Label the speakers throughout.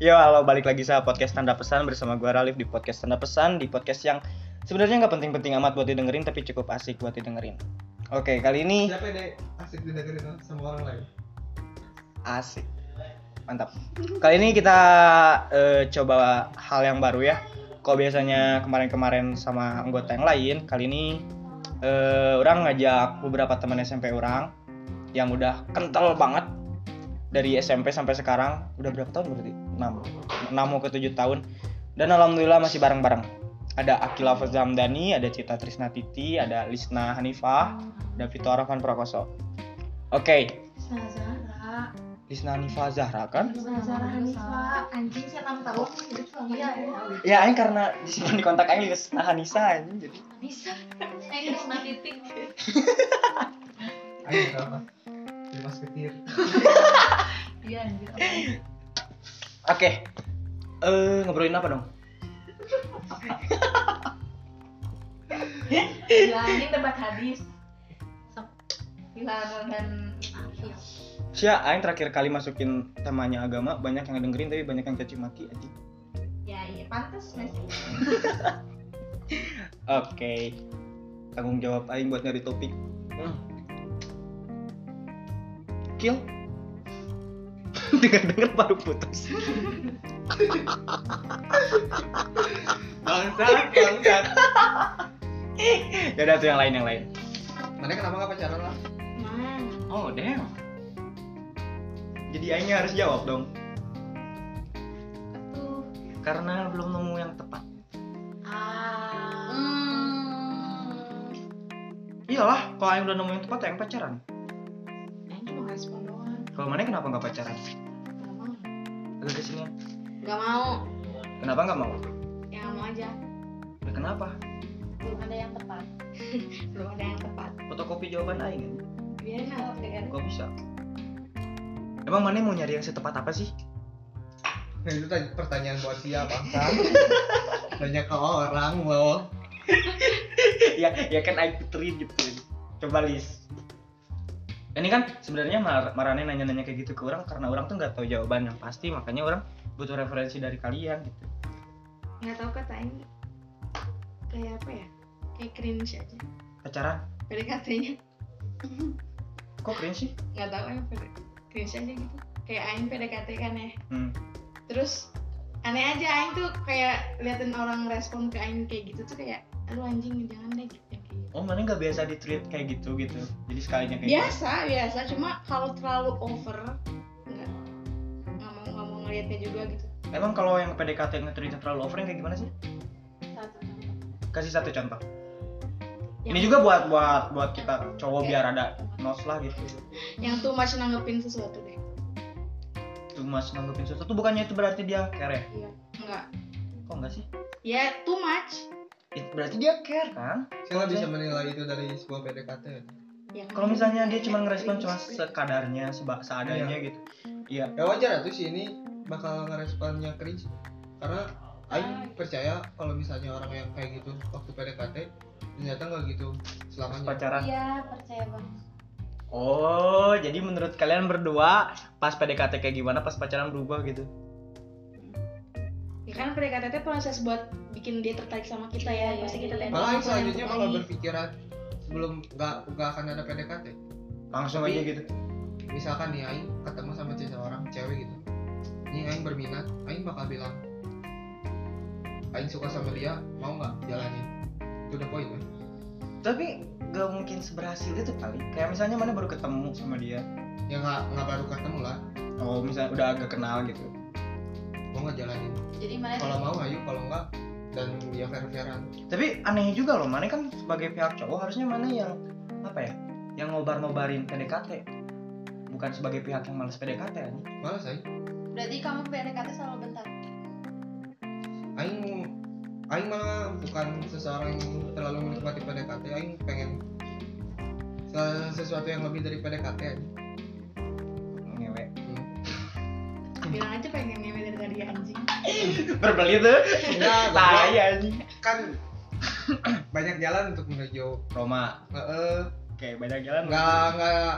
Speaker 1: Yo, halo balik lagi sama podcast tanda pesan bersama gua Ralif di podcast tanda pesan di podcast yang sebenarnya nggak penting-penting amat buat didengerin tapi cukup asik buat didengerin. Oke, kali ini
Speaker 2: Siapa deh asik didengerin sama orang lain?
Speaker 1: asik, mantap. Kali ini kita eh, coba hal yang baru ya. Kok biasanya kemarin-kemarin sama anggota yang lain, kali ini eh, orang ngajak beberapa teman SMP orang yang udah kental banget dari SMP sampai sekarang udah berapa tahun berarti? 6 6 mau ke 7 tahun dan alhamdulillah masih bareng-bareng ada Akila Fazamdani, ada Cita Trisnatiti, ada Lisna Hanifah, ada Vito Arafan Prakoso. Oke,
Speaker 3: Sarah,
Speaker 1: Lisna Hanifah Zahra kan?
Speaker 3: Sarah Hanifa, anjing saya enam tahun hidup selama
Speaker 4: Iya,
Speaker 3: ini.
Speaker 4: iya.
Speaker 1: Ya, aing karena di sini di kontak aing Lisna Hanisa aing jadi.
Speaker 4: Bisa. Saya ini pernah titik.
Speaker 2: Ayo apa? Bebas ketir.
Speaker 4: Iya, anjir.
Speaker 1: Oke. Eh, ngobrolin apa dong?
Speaker 4: Iya, ini debat hadis. Hilal dan Akil.
Speaker 1: Sia, aing terakhir kali masukin temanya agama, banyak yang dengerin tapi banyak yang caci maki anjing.
Speaker 4: Ya, iya pantas nggak sih?
Speaker 1: Oke. Tanggung jawab aing buat nyari topik. Hmm. Kill. Dengar-dengar baru putus.
Speaker 2: Bangsat, bangsat.
Speaker 1: Ya udah tuh yang lain yang lain.
Speaker 2: Mana kenapa nggak pacaran lah?
Speaker 4: Nah,
Speaker 1: Oh, damn. Jadi aingnya harus jawab dong
Speaker 4: betul.
Speaker 1: karena belum nemu yang tepat.
Speaker 4: Ah.
Speaker 3: Hmm.
Speaker 1: Iyalah, kalau aing udah nemu yang tepat ya aing pacaran.
Speaker 4: Ini cuma respon doang.
Speaker 1: Kalau mana kenapa nggak pacaran?
Speaker 4: Gak mau.
Speaker 1: Agak kesini. ya.
Speaker 4: Gak mau.
Speaker 1: Kenapa nggak mau?
Speaker 4: Yang mau aja.
Speaker 1: Ya, kenapa?
Speaker 4: Belum ada yang tepat. Belum ada yang tepat.
Speaker 1: Fotokopi jawaban aing.
Speaker 4: Biarin lah, kan.
Speaker 1: Gak bisa. Emang mana mau nyari yang setepat apa sih?
Speaker 2: Nah itu tadi pertanyaan buat siapa? Bangsat. Tanya ke orang mau.
Speaker 1: ya, ya kan aing putri gitu. Coba list. Ini kan sebenarnya Mar Marane nanya-nanya kayak gitu ke orang karena orang tuh nggak tahu jawaban yang pasti, makanya orang butuh referensi dari kalian gitu.
Speaker 3: Nggak tahu kata ini kayak apa ya? Kayak cringe aja.
Speaker 1: Pacaran?
Speaker 3: PDKT-nya
Speaker 1: Kok keren sih?
Speaker 3: nggak tahu ya PD- cringe aja gitu. Kayak Aing PDKT kan ya.
Speaker 1: Hmm.
Speaker 3: Terus aneh aja Aing tuh kayak liatin orang respon ke Aing kayak gitu tuh kayak aduh anjing jangan deh gitu. Kayak gitu.
Speaker 1: Oh, mana nggak biasa di treat kayak gitu gitu. Jadi sekalinya kayak gitu.
Speaker 3: Biasa, biasa. Cuma kalau terlalu over nggak nggak mau nggak mau ngeliatnya juga gitu.
Speaker 1: Emang kalau yang PDKT yang treat terlalu over kayak gimana sih?
Speaker 4: Satu.
Speaker 1: Kasih satu contoh.
Speaker 3: Yang,
Speaker 1: Ini juga buat buat buat kita cowok biar ada nos lah gitu.
Speaker 3: yang tuh masih nanggepin sesuatu deh.
Speaker 1: Tuh mas nanggepin sesuatu bukannya itu berarti dia care? ya?
Speaker 3: Enggak.
Speaker 1: Kok enggak sih?
Speaker 3: Ya too much.
Speaker 1: It, berarti dia care kan?
Speaker 2: Saya nggak bisa menilai itu dari sebuah PDKT.
Speaker 3: Ya,
Speaker 1: Kalau misalnya dia cuma
Speaker 3: gitu
Speaker 1: ngerespon cuma sekadarnya, seba, seadanya gitu. Iya.
Speaker 2: Ya wajar tuh si ini bakal ngeresponnya cringe karena Aing percaya kalau misalnya orang yang kayak gitu waktu PDKT ternyata nggak gitu
Speaker 1: Pas
Speaker 2: selamanya.
Speaker 1: pacaran.
Speaker 4: Iya, percaya bang.
Speaker 1: Oh, jadi menurut kalian berdua pas PDKT kayak gimana, pas pacaran berubah gitu?
Speaker 3: ya kan PDKT itu proses buat bikin dia tertarik sama kita ya.
Speaker 4: Iya,
Speaker 3: Pasti
Speaker 4: iya,
Speaker 3: kita
Speaker 4: iya.
Speaker 3: tembak
Speaker 2: Malah Aing
Speaker 3: langsung yang
Speaker 2: selanjutnya kalau
Speaker 3: terbaik.
Speaker 2: berpikiran sebelum nggak nggak akan ada PDKT
Speaker 1: Langsung
Speaker 2: Tapi-
Speaker 1: aja gitu.
Speaker 2: misalkan nih Aing ketemu sama seseorang cewek gitu ini Aing berminat Aing bakal bilang Aing suka sama dia mau nggak jalanin itu udah poin kan
Speaker 1: Tapi gak mungkin seberhasil itu kali. Kayak misalnya mana baru ketemu sama dia.
Speaker 2: ya nggak nggak baru ketemu lah
Speaker 1: Oh, misalnya udah agak kenal gitu.
Speaker 2: mau nggak jalanin
Speaker 4: Jadi mana?
Speaker 2: kalau mau ayo kalau nggak dan dia fair fairan
Speaker 1: Tapi aneh juga loh, mana kan sebagai pihak cowok harusnya mana yang apa ya? Yang ngobar-ngobarin PDKT. Bukan sebagai pihak yang males PDKT anjing.
Speaker 2: malas Aing
Speaker 4: Berarti kamu PDKT selalu bentar.
Speaker 2: Aing Aing malah bukan seseorang yang terlalu menikmati PDKT Aing pengen se- sesuatu yang lebih dari PDKT aja
Speaker 1: Ngewe. Oh.
Speaker 3: bilang aja pengen ngewe dari tadi anjing.
Speaker 1: Berbeli tuh.
Speaker 2: Enggak,
Speaker 1: Tai anjing.
Speaker 2: kan banyak jalan untuk menuju
Speaker 1: Roma.
Speaker 2: Heeh.
Speaker 1: Oke, banyak jalan.
Speaker 2: nggak nggak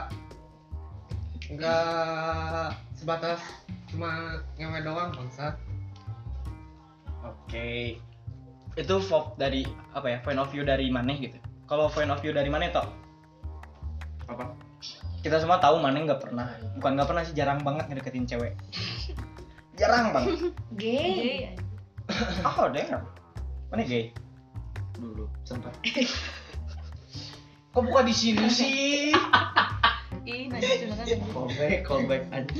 Speaker 2: nggak sebatas cuma ngewe doang bangsat
Speaker 1: Oke. Itu fo- dari apa ya? Point of view dari maneh gitu. Kalau point of view dari maneh toh apa? Ah, iya. Kita semua tahu maneh nggak pernah, bukan nggak pernah sih jarang banget ngedeketin cewek. jarang banget.
Speaker 3: Eh.
Speaker 4: Gay.
Speaker 1: Oh, damn. Maneh gay. Dulu, sempat. Kok buka di sini sih?
Speaker 4: Ih, nanti cuma kan
Speaker 1: Callback, callback aja.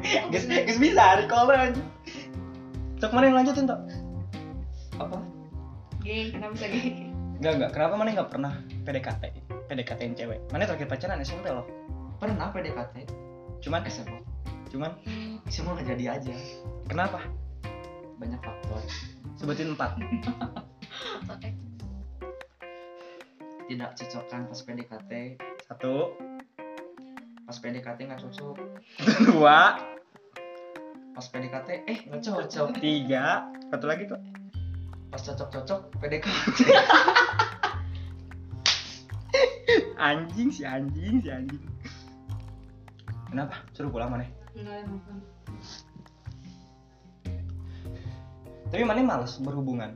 Speaker 1: Guys, guys bisa recall aja. Cok mana yang lanjutin toh? Apa?
Speaker 3: Gay, kenapa bisa gay?
Speaker 1: Enggak, enggak. Kenapa mana enggak pernah PDKT? PDKT-in cewek. Mana terakhir pacaran SMP loh.
Speaker 5: pernah PDKT
Speaker 1: Cuman
Speaker 5: SMA
Speaker 1: cuman
Speaker 5: semua nggak jadi aja
Speaker 1: kenapa?
Speaker 5: banyak faktor
Speaker 1: Sebutin empat.
Speaker 5: tidak cocokan pas PDKT
Speaker 1: Satu,
Speaker 5: pas PDKT nggak cocok
Speaker 1: dua,
Speaker 5: pas PDKT eh nggak cocok
Speaker 1: tiga. Satu lagi tuh.
Speaker 5: pas cocok cocok PDKT
Speaker 1: Anjing si anjing si anjing. Kenapa? Suruh pulang mana?
Speaker 3: Enggak, nonton.
Speaker 1: Tapi mana males berhubungan.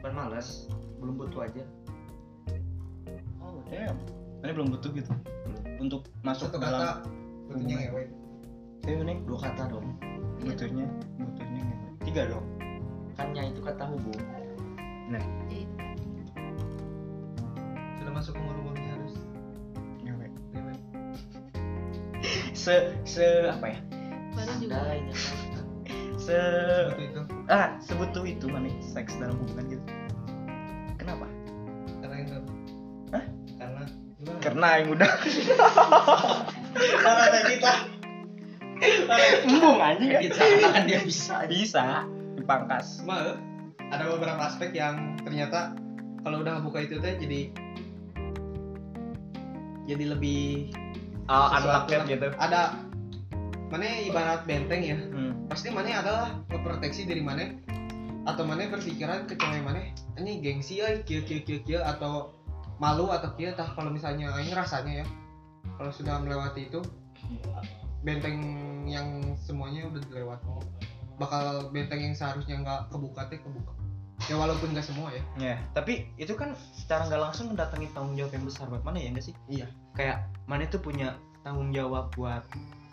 Speaker 5: bukan males belum butuh aja
Speaker 1: Oh, damn. Mana belum butuh gitu. Untuk masuk
Speaker 2: satu
Speaker 1: ke dalam
Speaker 2: kata butuhnya ngewe
Speaker 1: Tapi mana
Speaker 5: dua kata dong
Speaker 1: butuhnya butuhnya ngewe. gitu. tiga dong.
Speaker 5: kannya itu kata hubung
Speaker 2: sudah masuk umur umurnya harus
Speaker 1: Ngewe.
Speaker 2: ngewe
Speaker 1: Iya, Se se apa ya?
Speaker 4: Baru juga.
Speaker 5: ada ini kan.
Speaker 1: Se
Speaker 2: seperti itu
Speaker 1: ah sebutuh itu mana seks dalam hubungan gitu. Kenapa?
Speaker 2: karena itu
Speaker 1: Hah?
Speaker 2: karena gimana?
Speaker 1: karena yang udah
Speaker 2: karena ada kita
Speaker 1: embung anjing
Speaker 5: Kayak gitu kan dia bisa aja.
Speaker 1: bisa dipangkas
Speaker 2: cuma ada beberapa aspek yang ternyata kalau udah buka itu teh jadi jadi lebih
Speaker 1: oh,
Speaker 2: sesuatu
Speaker 1: unlocked
Speaker 2: lah.
Speaker 1: gitu
Speaker 2: ada mana ibarat benteng ya
Speaker 1: hmm.
Speaker 2: pasti mana adalah memproteksi diri mana atau mana berpikiran ke cewek mana ini gengsi ya kia kia kia kia atau malu atau kia tah kalau misalnya ini rasanya ya kalau sudah melewati itu benteng yang semuanya udah dilewat bakal benteng yang seharusnya nggak kebuka teh kebuka ya walaupun nggak semua ya
Speaker 1: ya tapi itu kan secara nggak langsung mendatangi tanggung jawab yang besar buat mana ya enggak sih
Speaker 2: Iya.
Speaker 1: kayak mana itu punya tanggung jawab buat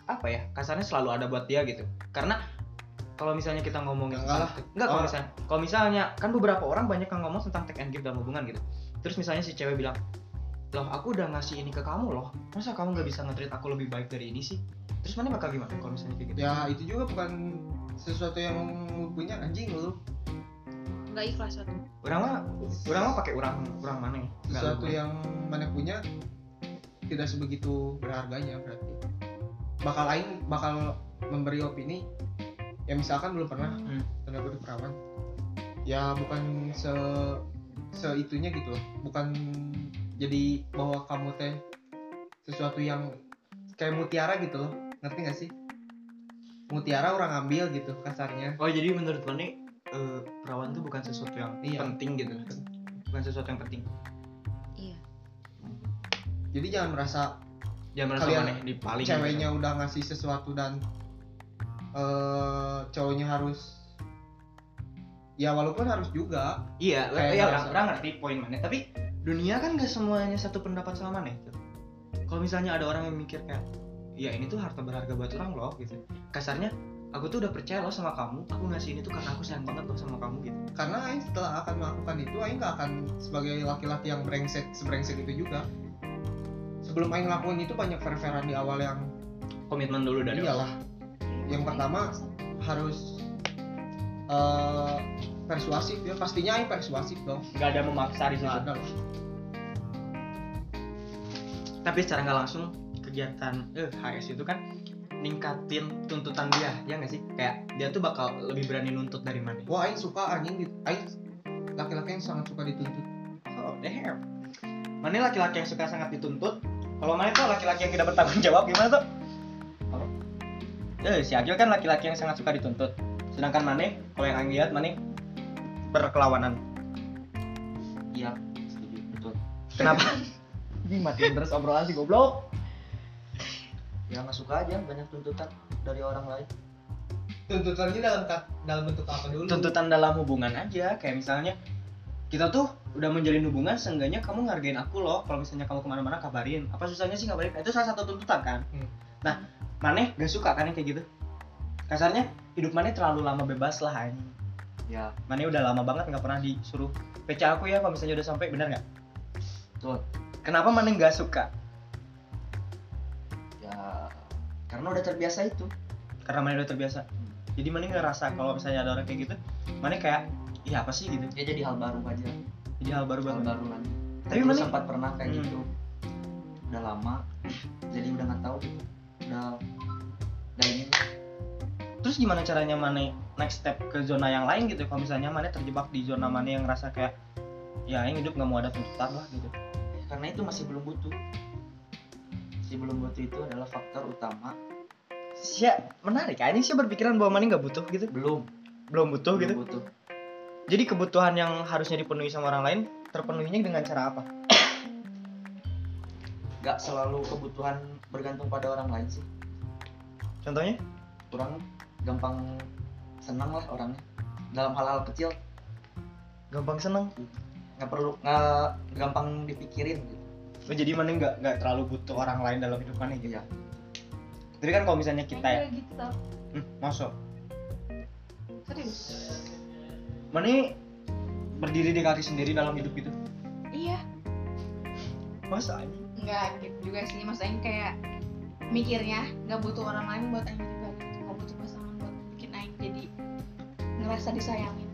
Speaker 1: apa ya kasarnya selalu ada buat dia gitu karena kalau misalnya kita ngomongin
Speaker 2: Enggak lah.
Speaker 1: Enggak kalau
Speaker 2: Oh.
Speaker 1: misalnya, kalau misalnya kan beberapa orang banyak yang ngomong tentang take and give dalam hubungan gitu. Terus misalnya si cewek bilang, loh aku udah ngasih ini ke kamu loh, masa kamu nggak bisa nge-treat aku lebih baik dari ini sih? Terus mana bakal gimana kalau misalnya kayak gitu?
Speaker 2: ya itu juga bukan sesuatu yang punya anjing lu
Speaker 4: Enggak ikhlas satu.
Speaker 1: Orang mah, orang mah pakai orang, orang mana ya? Nggak
Speaker 2: sesuatu
Speaker 1: lu.
Speaker 2: yang mana punya tidak sebegitu berharganya berarti bakal lain bakal memberi opini ya misalkan belum pernah
Speaker 1: Hmm.
Speaker 2: pernah berperawan ya bukan se seitunya gitu loh bukan jadi bahwa kamu teh sesuatu yang kayak mutiara gitu loh ngerti gak sih mutiara orang ambil gitu kasarnya
Speaker 1: Oh jadi menurut Mane, eh, perawan tuh bukan sesuatu yang
Speaker 2: Iya.
Speaker 1: penting gitu, bukan sesuatu yang penting.
Speaker 2: jadi jangan merasa
Speaker 1: Jangan merasa
Speaker 2: Kalian
Speaker 1: Mane dipaling.
Speaker 2: ceweknya udah ngasih sesuatu dan eh cowoknya harus ya walaupun harus juga
Speaker 1: Iya,
Speaker 2: Kayak
Speaker 1: iya,
Speaker 2: ngerasa.
Speaker 1: orang, orang ngerti poin mana. Tapi dunia kan gak semuanya satu pendapat sama mana itu. Kalau misalnya ada orang yang mikir kayak, ya ini tuh harta berharga buat orang loh gitu. Kasarnya, aku tuh udah percaya loh sama kamu. Aku ngasih ini tuh karena aku sayang banget loh sama kamu gitu.
Speaker 2: karena Aing setelah akan melakukan itu Aing gak akan sebagai laki-laki yang brengsek sebrengsek itu juga sebelum Aing lakuin itu banyak fair-fairan di awal yang
Speaker 1: Komitmen dulu dari orang.
Speaker 2: iyalah Yang pertama, harus eh persuasif ya pastinya Aing persuasif dong
Speaker 1: Gak ada memaksa di situ.
Speaker 2: nggak ada lah.
Speaker 1: Tapi secara nggak langsung kegiatan eh, HS itu kan ningkatin tuntutan dia, ya nggak sih? Kayak dia tuh bakal lebih berani nuntut dari mana.
Speaker 2: wah Aing suka anjing di- Aing laki-laki yang sangat suka dituntut
Speaker 1: Oh, damn. Mana laki-laki yang suka sangat dituntut? Kalau mana tuh laki-laki yang tidak bertanggung jawab gimana tuh? Apa? Eh, si Agil kan laki-laki yang sangat suka dituntut. Sedangkan Mane, kalau yang Aing lihat Mane berkelawanan.
Speaker 5: iya setuju betul
Speaker 1: Kenapa? Ini matiin terus obrolan si goblok.
Speaker 5: ya nggak suka aja banyak tuntutan dari orang lain
Speaker 2: tuntutannya dalam ka- dalam bentuk apa dulu
Speaker 1: tuntutan dalam hubungan aja kayak misalnya kita tuh udah menjalin hubungan seenggaknya kamu ngargain aku loh kalau misalnya kamu kemana-mana kabarin apa susahnya sih kabarin Nah, itu salah satu tuntutan kan
Speaker 2: Hmm.
Speaker 1: nah maneh gak suka kan yang kayak gitu kasarnya hidup maneh terlalu lama bebas lah anjing
Speaker 5: ya
Speaker 1: maneh udah lama banget nggak pernah disuruh pecah aku ya kalau misalnya udah sampai benar nggak
Speaker 5: Betul.
Speaker 1: kenapa maneh nggak suka
Speaker 5: ya karena udah terbiasa itu
Speaker 1: karena maneh udah terbiasa jadi maneh ngerasa kalau misalnya ada orang kayak gitu maneh kayak iya apa sih gitu
Speaker 5: ya jadi hal baru aja
Speaker 1: jadi hal baru
Speaker 5: hal
Speaker 1: banget
Speaker 5: baru lagi
Speaker 1: Tapi
Speaker 5: tapi
Speaker 1: mana-
Speaker 5: sempat pernah kayak
Speaker 1: Hmm.
Speaker 5: gitu udah lama jadi udah nggak tahu gitu udah udah ingin
Speaker 1: terus gimana caranya Mane next step ke zona yang lain gitu kalau misalnya Mane terjebak di zona Mane yang ngerasa kayak ya yang hidup nggak mau ada tuntutan lah gitu
Speaker 5: Eh, karena itu masih belum butuh masih belum butuh itu adalah faktor utama
Speaker 1: sih ya, menarik kayaknya sih berpikiran bahwa Mane nggak butuh gitu
Speaker 5: belum
Speaker 1: belum butuh
Speaker 5: belum
Speaker 1: gitu
Speaker 5: butuh
Speaker 1: jadi kebutuhan yang harusnya dipenuhi sama orang lain terpenuhinya dengan cara apa
Speaker 5: nggak selalu kebutuhan bergantung pada orang lain sih
Speaker 1: contohnya
Speaker 5: orang gampang senang lah orangnya dalam hal-hal kecil
Speaker 1: gampang seneng
Speaker 5: nggak perlu nggak gampang dipikirin gitu
Speaker 1: Oh, jadi Mane nggak nggak terlalu butuh orang lain dalam hidup Mane gitu
Speaker 5: Iya.
Speaker 1: tapi kan kalau misalnya kita ya
Speaker 4: Kayak gitu tau.
Speaker 1: hmm, masuk
Speaker 3: serius
Speaker 1: Mane berdiri di kaki sendiri dalam hidup gitu
Speaker 3: iya
Speaker 1: masa aja
Speaker 3: nggak gitu juga sih mas Aing kayak mikirnya nggak butuh orang lain buat Aing juga gitu nggak butuh pasangan buat bikin Aing jadi ngerasa disayangin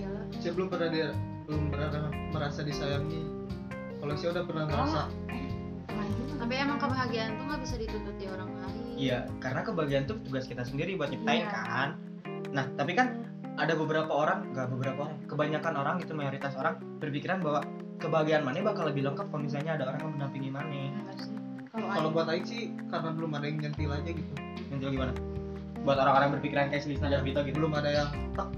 Speaker 3: Iya, gila
Speaker 2: saya belum pernah dia belum pernah merasa disayangi kalau saya udah pernah merasa
Speaker 3: kemarin juga
Speaker 4: Tapi emang kebahagiaan tuh nggak bisa dituntut di orang lain.
Speaker 1: Iya, karena kebahagiaan tuh tugas kita sendiri buat nyiptain
Speaker 4: Iya.
Speaker 1: kan. Nah, tapi kan ada beberapa orang, nggak beberapa orang, kebanyakan orang gitu mayoritas orang berpikiran bahwa kebahagiaan Mane bakal lebih lengkap kalau misalnya ada orang yang mendampingi Mane.
Speaker 4: Nggak sih. Kalau
Speaker 2: kalau
Speaker 4: Aing-
Speaker 2: buat Aing sih karena belum ada yang nyentil aja gitu
Speaker 1: Nanti lo gimana? Buat orang-orang yang berpikiran kayak Silisna dan Vito gitu.
Speaker 2: belum ada yang tak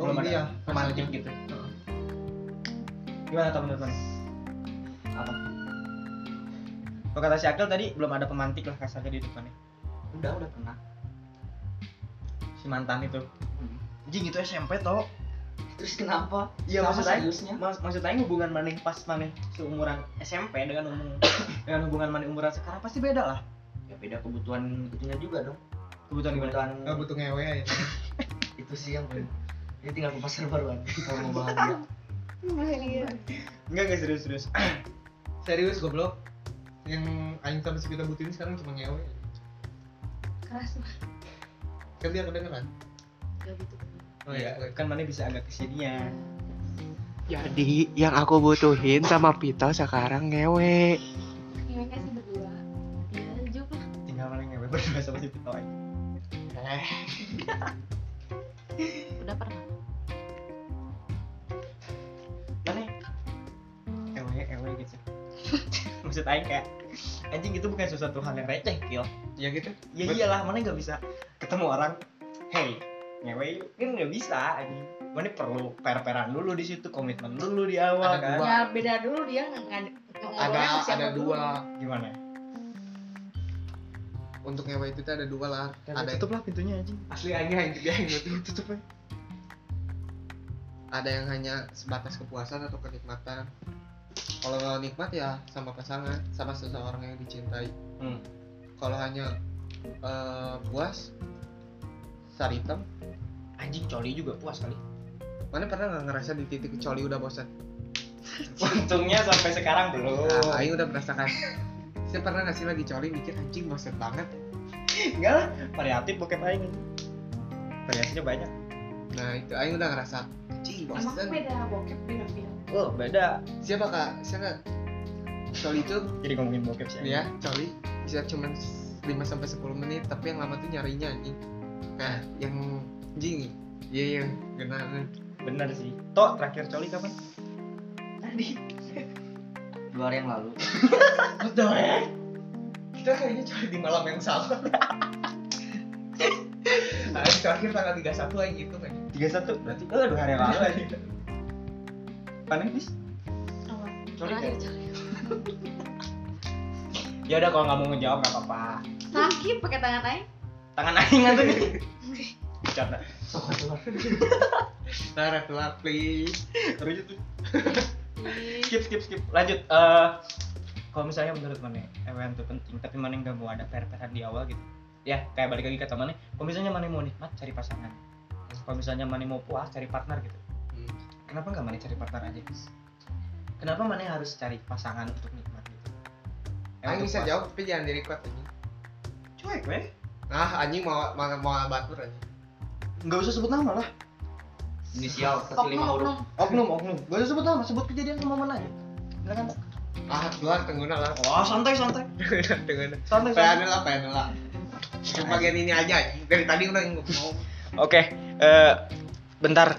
Speaker 2: oh
Speaker 1: Belum ada.
Speaker 2: ini ya
Speaker 1: Kemarin
Speaker 2: rasanya.
Speaker 1: gitu.
Speaker 2: Heeh.
Speaker 1: Gimana tuh menurut Mane?
Speaker 5: apa
Speaker 1: Kalau kata si Akil tadi belum ada pemantik lah kasarnya di hidup Mane.
Speaker 5: udah udah pernah
Speaker 1: Si mantan itu.
Speaker 5: Hmm.
Speaker 1: Anjing itu SMP toh.
Speaker 5: terus kenapa
Speaker 1: Iya,
Speaker 5: Sama
Speaker 1: maksud Aing.
Speaker 5: seriusnya
Speaker 1: Mas, maksud Aing hubungan Mane pas Mane seumuran SMP dengan umur dengan hubungan Mane umuran sekarang pasti beda lah.
Speaker 5: ya beda kebutuhan itunya juga dong
Speaker 1: Kebutuhan gimana?
Speaker 5: kebutuhan
Speaker 2: nggak butuh ngewe ya
Speaker 5: itu sih yang paling ini tinggal ke pasar baru aja kalau mau bahagia
Speaker 3: gitu,
Speaker 4: Kebahagiaan.
Speaker 1: Enggak, enggak serius-serius.
Speaker 2: serius goblok yang Aing sama si kita butuhin sekarang cuma ngewe
Speaker 3: keras lah
Speaker 2: kan dia kedengeran
Speaker 4: Nggak gitu. butuh.
Speaker 2: oh iya oke.
Speaker 1: Kan mana bisa agak kesinian.
Speaker 6: Jadi yang aku butuhin sama Pito sekarang ngewe.
Speaker 3: gimana sih berdua
Speaker 4: Ya, juk lah.
Speaker 1: Tinggal paling ngewe berdua sama si Pito aja.
Speaker 4: Udah pernah.
Speaker 1: Mana? Ewe, ewe gitu. Maksud Aing kayak anjing itu bukan sesuatu hal yang receh, Kil.
Speaker 2: ya gitu
Speaker 1: Ya
Speaker 2: Bet-
Speaker 1: iyalah, mana nggak bisa ketemu orang, hey, ngewe yuk." kan nggak bisa anjing. Mana perlu per-peran dulu di situ, komitmen dulu di awal
Speaker 2: Ada
Speaker 1: kan.
Speaker 2: dua.
Speaker 3: ya beda dulu dia nggak ngaj- ngobrolnya
Speaker 2: ada
Speaker 3: sama siapa
Speaker 2: ada
Speaker 3: dulu.
Speaker 2: dua
Speaker 1: Gimana?
Speaker 2: untuk ngewe itu tuh ada dua lah ada yang
Speaker 1: tutuplah pintunya anjing.
Speaker 2: asli Aing yang dia yang gitu
Speaker 1: Tutup aja.
Speaker 2: ada yang hanya sebatas kepuasan atau kenikmatan kalau nggak nikmat ya sama pasangan sama seseorang yang dicintai
Speaker 1: Hmm.
Speaker 2: kalau hanya eh, puas sari hitam
Speaker 1: Anjing coli juga puas kali.
Speaker 2: mana pernah nggak ngerasa di titik coli udah bosan
Speaker 1: Untungnya sampai sekarang belum.
Speaker 2: nah, Aing udah merasakan saya pernah nggak sih lagi coli mikir anjing bosan banget
Speaker 1: Enggak lah, variatif bokep aing. Variasinya banyak.
Speaker 2: nah itu Aing udah ngerasa anjing
Speaker 3: emang
Speaker 2: bosan
Speaker 3: beda bokep beda film
Speaker 1: Oh, beda.
Speaker 2: siapa kak saya nggak coli itu
Speaker 1: Jadi ngomongin bokep sih.
Speaker 2: ya coli bisa cuma 5 sampai 10 menit tapi yang lama tuh nyarinya anjing nah yang anjing iya yang genangan
Speaker 1: Bener sih. Tok, terakhir coli kapan?
Speaker 3: tadi
Speaker 5: dua hari yang lalu
Speaker 1: Betul ya.
Speaker 2: kita kayaknya coli di malam yang sama nah, terakhir tanggal 31 aja gitu kan
Speaker 1: 31. Berarti eh, dua hari yang lalu aja. Panen bis.
Speaker 4: Awal.
Speaker 5: Coli
Speaker 4: Terakhir,
Speaker 5: kayak-
Speaker 4: coli.
Speaker 1: ya udah kalau nggak mau ngejawab nggak apa-apa
Speaker 3: sakit pakai tangan aing
Speaker 1: tangan aing tuh nih bercanda
Speaker 5: Sok atuh lah.
Speaker 2: Lara tuh please.
Speaker 1: Terus itu
Speaker 3: Ih,
Speaker 1: skip skip skip lanjut Eh, kalau misalnya menurut mana event itu penting tapi mana nggak mau ada per-peran di awal gitu ya kayak balik lagi kata mana kalau misalnya mana mau nikmat cari pasangan kalau misalnya mana mau puas cari partner gitu
Speaker 2: Hmm.
Speaker 1: kenapa nggak mana cari partner aja kenapa mana harus cari pasangan untuk nikmat gitu
Speaker 2: Aing
Speaker 1: untuk
Speaker 2: bisa
Speaker 1: puas.
Speaker 2: jawab tapi jangan di record anjing.
Speaker 1: cuek weh
Speaker 2: Nah, anjing mau mau mau batur anjing.
Speaker 1: nggak usah sebut nama lah
Speaker 5: Inisial
Speaker 3: oknum,
Speaker 5: satu lima huruf.
Speaker 3: oknum.
Speaker 1: oknum oknum nggak usah sebut nama sebut kejadian sama mana aja silakan
Speaker 2: Ah, keluar tengguna lah.
Speaker 1: wah Oh, santai santai
Speaker 2: tengguna.
Speaker 1: santai, santai.
Speaker 2: Pengen lah, pengen lah. Cuma bagian ini aja anjing. Dari tadi udah ngomong.
Speaker 1: Oke, eh, bentar.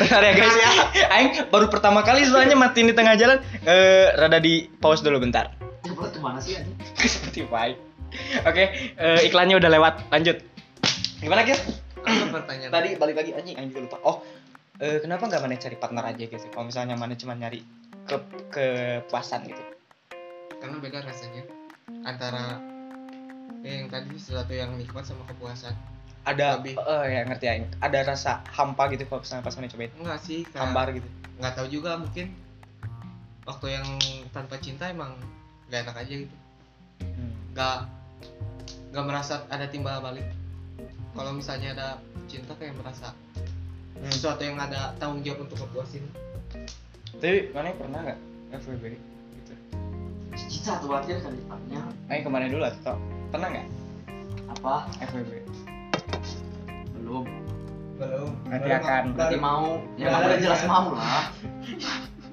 Speaker 1: bentar ya guys. Aing baru pertama kali soalnya matiin di tengah jalan. Eh, rada di pause dulu bentar.
Speaker 5: Coba kemana sih anjing?
Speaker 1: Ke Spotify. Oke, eh, iklannya udah lewat. Lanjut. Gimana guys?
Speaker 2: Apa pertanyaan?
Speaker 1: Tadi balik lagi anjing, Aing juga lupa. Oh, eh, kenapa nggak mana cari partner aja guys? Kalau misalnya mana cuma nyari ke kepuasan gitu.
Speaker 2: karena beda rasanya antara ya, yang tadi sesuatu yang nikmat sama kepuasan
Speaker 1: Ada
Speaker 2: Lebih.
Speaker 1: eh, ya ngerti Aing. Ada rasa hampa gitu kalau misalnya pas mana cobain.
Speaker 2: enggak sih kayak
Speaker 1: Hambar gitu.
Speaker 2: nggak tahu juga mungkin waktu yang tanpa cinta emang gak enak aja gitu
Speaker 1: Hmm.
Speaker 2: nggak nggak merasa ada timbal balik kalau misalnya ada cinta kayak merasa
Speaker 1: Hmm.
Speaker 2: sesuatu yang ada tanggung jawab untuk kepuasin
Speaker 1: Tapi mana pernah nggak FWB gitu?
Speaker 5: Cica tuh latihan kan depannya.
Speaker 1: Aing kemana dulu atau pernah nggak
Speaker 5: Apa?
Speaker 1: FWB?
Speaker 5: Belum.
Speaker 2: belum
Speaker 1: Nanti akan.
Speaker 5: Berarti mau. Ya
Speaker 2: Belum.
Speaker 5: udah jelas mau lah.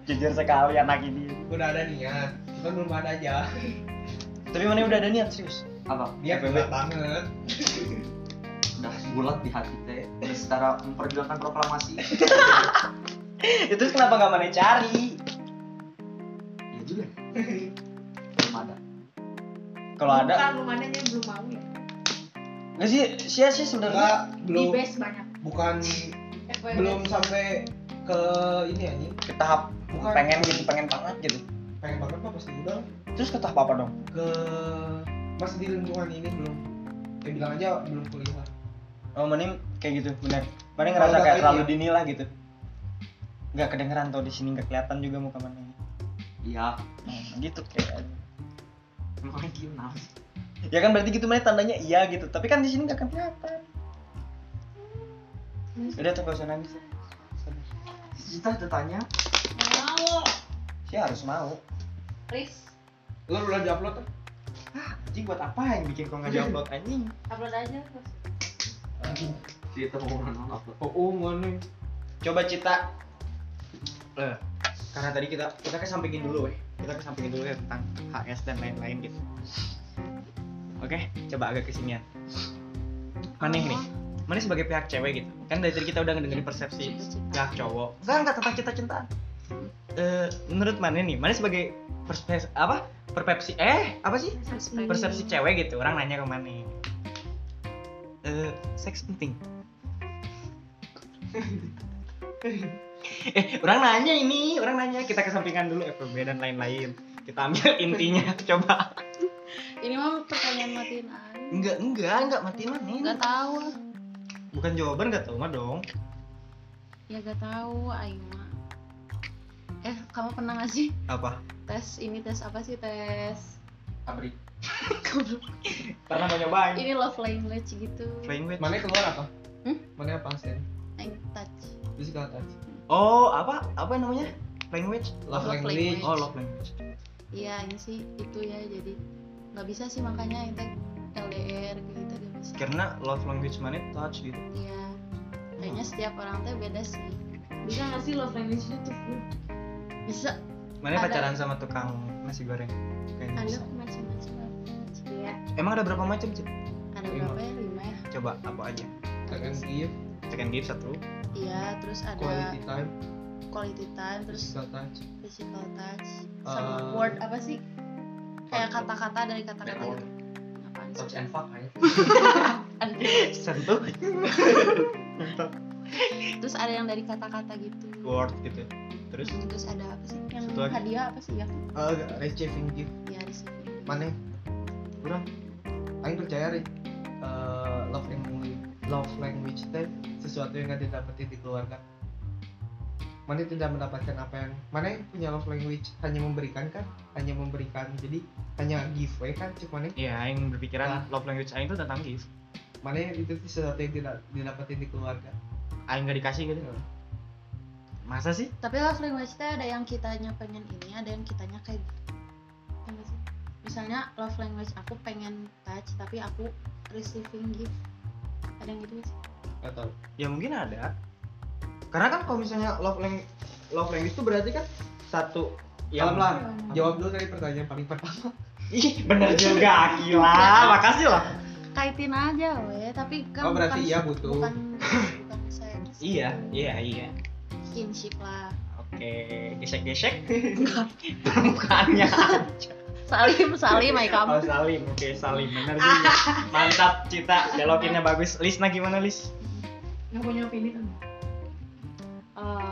Speaker 1: Jujur sekali anak ini.
Speaker 2: udah ada niat cuman belum ada aja
Speaker 1: Tapi mana udah ada niat serius?
Speaker 5: Apa?
Speaker 2: niat
Speaker 1: FWB.
Speaker 2: berat banget
Speaker 5: Udah bulat di hati teh. Udah secara memperjuangkan proklamasi.
Speaker 1: Ya, terus kenapa nggak mana cari?
Speaker 5: Iya juga. Belum ada.
Speaker 1: Kalau ada,
Speaker 3: bukan rumahnya belum mau ya
Speaker 1: nggak sih sia sih
Speaker 2: enggak
Speaker 1: sebenarnya
Speaker 3: di
Speaker 2: belum
Speaker 3: base banyak
Speaker 2: bukan
Speaker 3: FWB.
Speaker 2: belum sampai ke ini anjing
Speaker 1: ke tahap
Speaker 2: bukan
Speaker 1: pengen gitu, pengen banget gitu.
Speaker 2: pengen banget mah pasti udah
Speaker 1: Terus ke tahap apa dong?
Speaker 2: ke masih di lingkungan ini belum ya bilang aja belum kuliah
Speaker 1: Oh, mending kayak gitu, benar. Mending
Speaker 2: Kalau
Speaker 1: ngerasa
Speaker 2: nggak
Speaker 1: kayak
Speaker 2: kayak
Speaker 1: terlalu
Speaker 2: dia.
Speaker 1: dini lah gitu. Nggak kedengeran tau di sini nggak kelihatan juga muka mana.
Speaker 5: Iya.
Speaker 1: Hmm, gitu kayak.
Speaker 5: Emang gimana? sih?
Speaker 1: Ya kan berarti gitu mana tandanya iya gitu. Tapi kan di sini nggak akan kelihatan. Udah tuh gak usah nangis.
Speaker 5: Cica ditanya.
Speaker 3: mau
Speaker 1: Sih harus mau.
Speaker 3: please
Speaker 2: lo udah diupload kan
Speaker 1: Anjing buat apa yang bikin kok nggak diupload anjing?
Speaker 3: upload aja terus
Speaker 5: Cica mau nonton apa?
Speaker 2: oh oh mana
Speaker 1: Coba cita. Eh, karena tadi kita kita kesampingin dulu weh. Kita kesampingin dulu ya tentang HS dan lain-lain gitu. Oke, coba agak kesinian. Maneh nih. Maneh sebagai pihak cewek gitu. Kan dari tadi kita udah ngedengerin persepsi pihak cowok. Enggak, enggak tentang cinta-cintaan. Eh, menurut Maneh nih, Maneh sebagai perspes apa? Perpepsi eh apa sih? persepsi cewek gitu orang nanya ke mana eh seks penting eh orang nanya ini orang nanya kita kesampingkan dulu FBB dan lain-lain kita ambil intinya coba
Speaker 3: ini mah pertanyaan matiin aja
Speaker 1: enggak enggak enggak mati mana
Speaker 3: nggak tahu lah.
Speaker 1: bukan jawaban enggak tahu mah dong
Speaker 3: ya gak tahu aing mah eh kamu pernah nggak sih
Speaker 1: apa
Speaker 3: tes ini tes apa sih tes
Speaker 5: Abri.
Speaker 3: Goblok.
Speaker 1: pernah mau nyobain
Speaker 3: ini love language gitu
Speaker 1: flying weight
Speaker 2: mana keluar apa
Speaker 3: Hmm?
Speaker 2: mana apa sih
Speaker 3: aing touch
Speaker 2: physical touch
Speaker 1: oh apa apa namanya flying weight
Speaker 2: love
Speaker 3: Love
Speaker 2: language
Speaker 3: language.
Speaker 1: oh love language
Speaker 3: iya ini sih itu ya jadi nggak bisa sih makanya itu LDR kayak gitu gak bisa
Speaker 1: karena love language mana touch gitu
Speaker 3: iya kayaknya setiap orang tuh beda sih bisa nggak sih love language nya tuh bisa
Speaker 1: mana
Speaker 3: Ada.
Speaker 1: pacaran sama tukang nasi goreng Kayaknya
Speaker 3: ada
Speaker 1: bisa.
Speaker 3: macam-macam ya
Speaker 1: Emang ada berapa macam sih?
Speaker 3: ada
Speaker 2: Lima.
Speaker 3: berapa ya lima ya
Speaker 1: Coba apa aja?
Speaker 2: akan give
Speaker 1: Check and give satu.
Speaker 3: iya terus ada
Speaker 2: quality time
Speaker 3: quality time terus
Speaker 2: physical touch
Speaker 3: physical touch sama
Speaker 2: Eh,
Speaker 3: word apa sih kayak kata-kata dari kata-kata
Speaker 5: Network.
Speaker 3: gitu apaan
Speaker 2: touch
Speaker 3: sih
Speaker 2: and fuck aja
Speaker 3: Aduh.
Speaker 1: Sentuh
Speaker 3: terus ada yang dari kata-kata gitu
Speaker 1: word gitu. Terus
Speaker 3: Hmm, terus ada apa sih yang
Speaker 1: Satu lagi.
Speaker 3: hadiah apa sih ya
Speaker 2: uh, receiving gift
Speaker 3: ya
Speaker 2: mana
Speaker 5: Kurang.
Speaker 2: aing percaya ri eh, love language love language teh sesuatu yang gak didapetin di keluarga mana tidak mendapatkan apa yang mana punya love language hanya memberikan kan hanya memberikan jadi hanya giveaway kan cek mana
Speaker 1: Iya, aing berpikiran love language aing itu tentang gift.
Speaker 2: mana itu tuh sesuatu yang tidak didapetin di keluarga
Speaker 1: Aing gak dikasih gitu. Masa sih?
Speaker 4: Tapi love language teh ada yang kitanya pengen ini, ada yang kitanya kayak gitu. Ya nggak sih? Misalnya love language aku pengen touch, tapi aku receiving gift. Ada yang gitu nggak sih?
Speaker 2: gak tau
Speaker 1: Ya mungkin ada.
Speaker 2: karena kan kalau misalnya love language love language itu berarti kan satu
Speaker 1: Yang
Speaker 2: Pelan-pelan. jawab dulu dari pertanyaan paling pertama
Speaker 1: Ih, bener juga, gila. Makasih lah.
Speaker 4: Kaitin aja we, tapi kan
Speaker 2: Oh, berarti
Speaker 4: bukan,
Speaker 2: iya butuh.
Speaker 4: bukan bukan seks.
Speaker 1: Iya, iya, iya.
Speaker 4: Kinship lah.
Speaker 1: Oke, gesek-gesek. Permukaannya.
Speaker 4: Salim, salim, my
Speaker 1: Oh,
Speaker 4: kamu.
Speaker 1: salim. Oke, salim. Bener juga. Mantap, Cita. Belokinnya bagus. Lisna gimana, Lis?
Speaker 3: nggak punya opini kan
Speaker 4: Eh,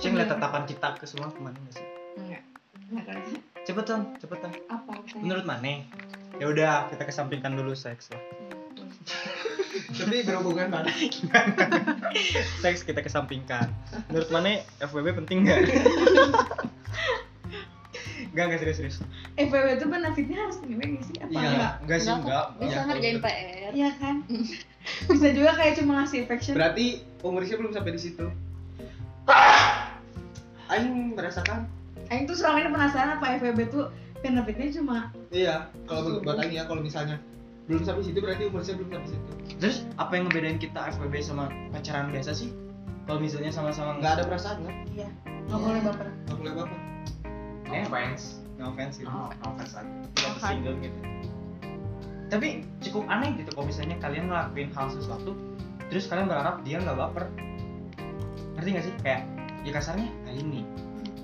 Speaker 1: Saya ngeliat tatapan Cita ke semua kemana nggak sih?
Speaker 3: enggak enggak kali
Speaker 1: Cepetan, cepetan.
Speaker 3: apa saya
Speaker 1: Menurut mana? Ya udah, kita kesampingkan dulu seks lah.
Speaker 2: tapi berhubungan mana
Speaker 1: Seks kita kesampingkan. Menurut mana FWB penting nggak? Enggak, enggak serius-serius.
Speaker 3: FWB itu benefitnya harus ngewe nggak sih apa
Speaker 2: Iya.
Speaker 3: enggak
Speaker 1: Enggak sih,
Speaker 4: Enggak kok.
Speaker 1: enggak.
Speaker 4: bisa
Speaker 2: Iya,
Speaker 4: ngerjain
Speaker 2: betul.
Speaker 4: PR.
Speaker 3: iya kan bisa juga kayak cuma ngasih affection
Speaker 2: Berarti umurnya belum sampai di situ. Ah! Aing merasakan
Speaker 3: Aing tuh selama ini penasaran apa FWB tuh benefitnya cuma
Speaker 2: iya kalau menurut buat Aing ya kalau misalnya belum sampai situ berarti umurnya belum sampai situ.
Speaker 1: Terus apa yang ngebedain kita FWB sama pacaran biasa sih? Kalau misalnya sama-sama
Speaker 2: Enggak ada perasaan kan?
Speaker 3: nggak boleh baper
Speaker 2: Enggak boleh apa-apa.
Speaker 1: no offense, no offense gitu.
Speaker 4: Oh.
Speaker 5: Offense lagi.
Speaker 1: Tetap single gitu. Tapi cukup aneh gitu kalau misalnya kalian ngelakuin hal sesuatu, terus kalian berharap dia nggak baper. Ngerti nggak sih? Kayak ya kasarnya Aing nih,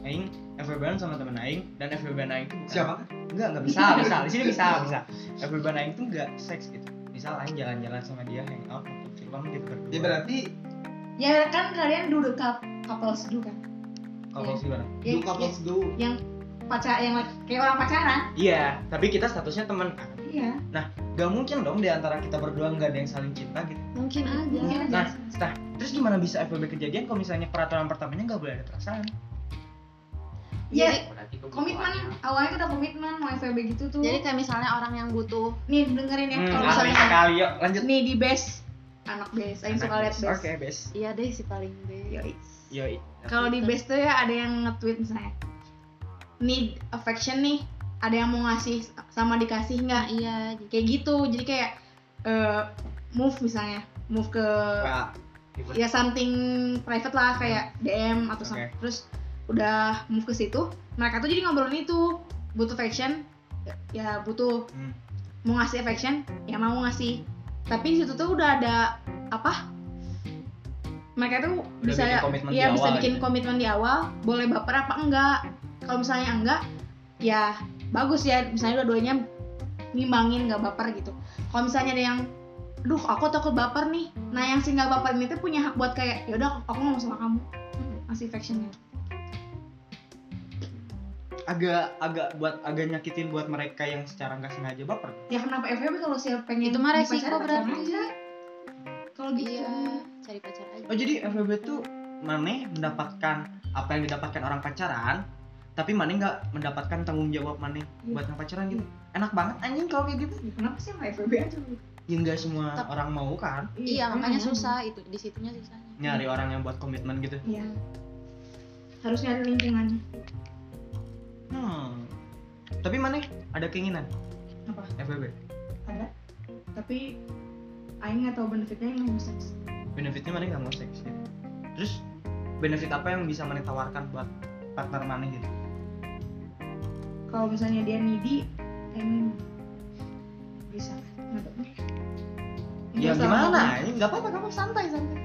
Speaker 1: Aing FWB sama temen Aing dan FWB Aing itu bukan
Speaker 2: Siapa?
Speaker 1: Enggak, enggak bisa, bisa. Di sini bisa, bisa. FWB Aing tuh enggak seks gitu. Misal Aing jalan-jalan sama dia, hangout, nonton film gitu berdua.
Speaker 2: Ya berarti
Speaker 3: ya kan kalian duduk kap couple dulu kan
Speaker 1: Kalau sih bareng.
Speaker 3: ya,
Speaker 2: do couples do.
Speaker 3: yang pacar yang like- kayak orang pacaran
Speaker 1: Iya, tapi kita statusnya teman kan.
Speaker 3: iya
Speaker 1: Gak mungkin dong di antara kita berdua nggak ada yang saling cinta gitu.
Speaker 4: Mungkin aja.
Speaker 3: Mungkin
Speaker 1: Nah,
Speaker 3: aja.
Speaker 1: nah, terus gimana bisa FWB kejadian kalau misalnya peraturan pertamanya nggak boleh ada perasaan?
Speaker 3: ya
Speaker 4: Jadi, Iya.
Speaker 5: Berarti kebutuhannya.
Speaker 3: komitmen awalnya tuh udah komitmen mau FWB gitu tuh
Speaker 4: jadi kayak misalnya orang yang butuh
Speaker 3: nih dengerin ya kalau
Speaker 1: Hmm,
Speaker 3: misalnya
Speaker 1: aneh sekali yuk lanjut.
Speaker 3: nih di base anak base Aing suka lihat
Speaker 1: Oke, Iya.
Speaker 3: base
Speaker 1: bes.
Speaker 4: iya deh si paling deh
Speaker 3: Yoi.
Speaker 1: Yoi.
Speaker 3: kalau
Speaker 4: Gitu.
Speaker 3: di base tuh ya ada yang nge-tweet misalnya need affection nih ada yang mau ngasih sama dikasih nggak
Speaker 4: iya jadi
Speaker 3: kayak gitu jadi kayak eh, move misalnya move ke
Speaker 1: Wah,
Speaker 3: ya something private lah kayak DM atau sama
Speaker 1: Oke.
Speaker 3: terus udah move ke situ mereka tuh jadi ngobrolin itu butuh affection ya butuh
Speaker 1: hmm.
Speaker 3: mau ngasih affection ya mau ngasih tapi di situ tuh udah ada apa mereka tuh
Speaker 1: Udah
Speaker 3: bisa
Speaker 1: bikin komitmen
Speaker 3: ya
Speaker 1: di
Speaker 3: bisa
Speaker 1: awal
Speaker 3: bikin
Speaker 1: gitu.
Speaker 3: komitmen di awal boleh baper apa enggak kalau misalnya enggak ya bagus ya misalnya dua-duanya ngimbangin nggak baper gitu kalau misalnya ada yang duh aku takut baper nih nah yang si nggak baper ini tuh punya hak buat kayak yaudah aku ngomong sama kamu Hmm, ngasih affectionnya
Speaker 1: agak agak buat agak nyakitin buat mereka yang secara nggak sengaja baper.
Speaker 3: ya kenapa FWB kalau si pengen
Speaker 4: Itu mah resiko
Speaker 3: dipacarin, pacaran
Speaker 4: berarti.
Speaker 3: aja. kalau gitu
Speaker 4: iya cari pacar aja
Speaker 1: Oh jadi FWB tuh Mane mendapatkan apa yang didapatkan orang pacaran tapi Mane nggak mendapatkan tanggung jawab Mane
Speaker 3: Iya.
Speaker 1: buat yang pacaran gitu enak banget anjing kalau kayak gitu
Speaker 3: Ya, kenapa sih sama FWB aja
Speaker 1: ya nggak semua
Speaker 4: Tep-
Speaker 1: orang mau kan
Speaker 4: iya makanya
Speaker 3: emang.
Speaker 4: susah itu di situnya susahnya
Speaker 1: nyari orang yang buat komitmen gitu
Speaker 3: Iya. Harus nyari lingkungannya.
Speaker 1: hmm tapi Mane ada keinginan
Speaker 3: Apa?
Speaker 1: FWB
Speaker 3: Ada. Tapi Aing nggak tahu benefitnya yang mau seks.
Speaker 1: benefitnya Mane nggak mau seks gitu. terus benefit apa yang bisa Mane tawarkan buat partner Mane gitu
Speaker 3: Kalau misalnya dia needy, Aing bisa. Nggak tahu.
Speaker 1: ya
Speaker 3: Nggak tahu.
Speaker 1: gimana ini nggak apa-apa kamu santai santai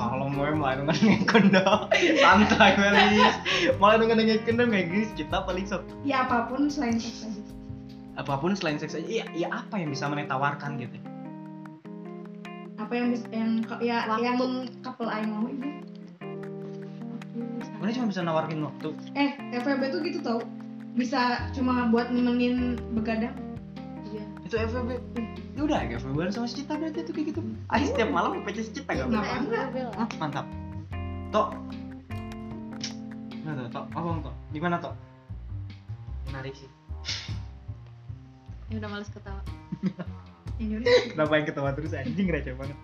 Speaker 1: kalau mau mulai dengan yang kendor santai Melis mulai dengan yang kendor kayak gini kita paling sok
Speaker 3: Ya apapun selain seks aja.
Speaker 1: apapun selain seks aja ya, ya apa yang bisa Mane tawarkan gitu
Speaker 3: Apa yang bisa, yang ke- ya
Speaker 4: Waktu.
Speaker 3: yang couple Aing mau itu.
Speaker 1: Mane cuma bisa nawarkan waktu
Speaker 3: Eh, FWB tuh gitu tau bisa cuma buat nemenin begadang iya
Speaker 1: itu FWB ya udah ya FWB sama si Cita berarti itu kayak gitu ah setiap malam pacar si Cita gak
Speaker 3: Kenapa
Speaker 4: Kita
Speaker 3: enggak?
Speaker 4: FWB lah.
Speaker 1: Hah, Hmm, mantap tok nggak tahu tok apa tok gimana tok
Speaker 2: menarik sih
Speaker 4: Ya udah males ketawa.
Speaker 3: ini
Speaker 1: kenapa yang ketawa terus anjing receh banget